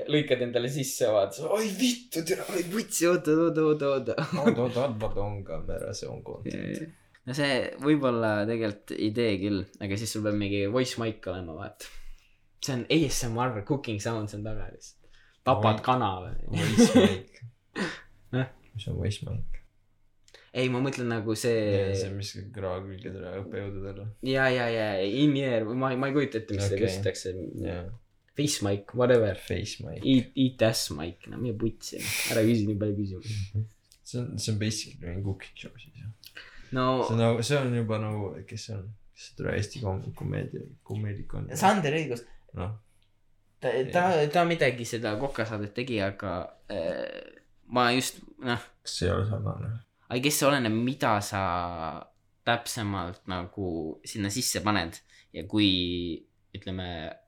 [SPEAKER 1] lõikad endale sisse , vaatad , oi vittu , tere , oi vutsi , oota , oota , oota , oota .
[SPEAKER 2] oota , oota , oota , on kaamera , see on content .
[SPEAKER 1] no see võib-olla tegelikult idee küll , aga siis sul peab mingi voice mic olema , vaata . see on ASMR cooking sound , see on taga lihtsalt . tapad
[SPEAKER 2] Oi.
[SPEAKER 1] kana või ?
[SPEAKER 2] Voice mic
[SPEAKER 1] Jah. .
[SPEAKER 2] mis on voice mic ?
[SPEAKER 1] ei , ma mõtlen nagu
[SPEAKER 2] see ,
[SPEAKER 1] see
[SPEAKER 2] mis kõrva külgedele õppejõududele .
[SPEAKER 1] ja , ja , ja in-ear , ma , ma ei kujuta ette , mis seda
[SPEAKER 2] Okei.
[SPEAKER 1] küsitakse .
[SPEAKER 2] jaa ,
[SPEAKER 1] Face mic , whatever .
[SPEAKER 2] face mic .
[SPEAKER 1] Eat , eat ass mic , no mida putsi , ära küsi nii palju küsimusi .
[SPEAKER 2] Mhm. see on , see on basically mingi cooking show siis jah . see
[SPEAKER 1] no
[SPEAKER 2] on nagu , see on juba nagu , kes see on , kes see tule Eesti kom- , komeedia , komeedik on .
[SPEAKER 1] Sander õigus ,
[SPEAKER 2] noh ,
[SPEAKER 1] ta , ta , ta midagi seda kokasaadet tegi , aga äh, ma just noh
[SPEAKER 2] kas see ei ole sarnane ?
[SPEAKER 1] aga kes see oleneb , mida sa täpsemalt nagu sinna sisse paned ja kui ütleme ,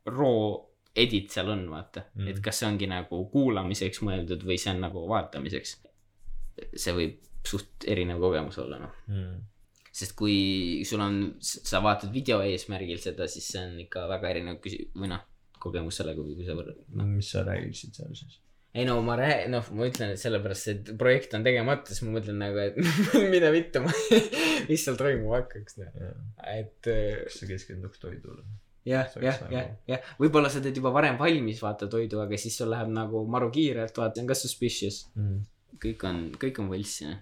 [SPEAKER 1] raw edit seal on , vaata mm ,
[SPEAKER 2] Mhm.
[SPEAKER 1] -hmm. et kas see ongi nagu kuulamiseks mõeldud või see on nagu vaatamiseks . see võib suht erinev kogemus olla , noh ,
[SPEAKER 2] Hmm.
[SPEAKER 1] sest kui sul on , sa vaatad video eesmärgil seda , siis see on ikka väga erinev küsi- või noh , kogemus sellega , kui sa võrrad , noh .
[SPEAKER 2] mis sa räägiksid seal siis ?
[SPEAKER 1] ei no ma rää- , noh , ma ütlen , et sellepärast see projekt on tegemata , siis ma mõtlen nagu , et mine vittu , mis seal toimuma hakkaks , noh . et eh,
[SPEAKER 2] kas sa keskenduks toidule ?
[SPEAKER 1] jah ,
[SPEAKER 2] See oleks
[SPEAKER 1] jah ,
[SPEAKER 2] nagu-
[SPEAKER 1] jah , jah , võib-olla sa teed juba varem valmis , vaata
[SPEAKER 2] Hmm.
[SPEAKER 1] toidu , aga siis sul läheb nagu maru kiirelt , vaata , see on ka suspicious . kõik on , kõik on võlss , jah .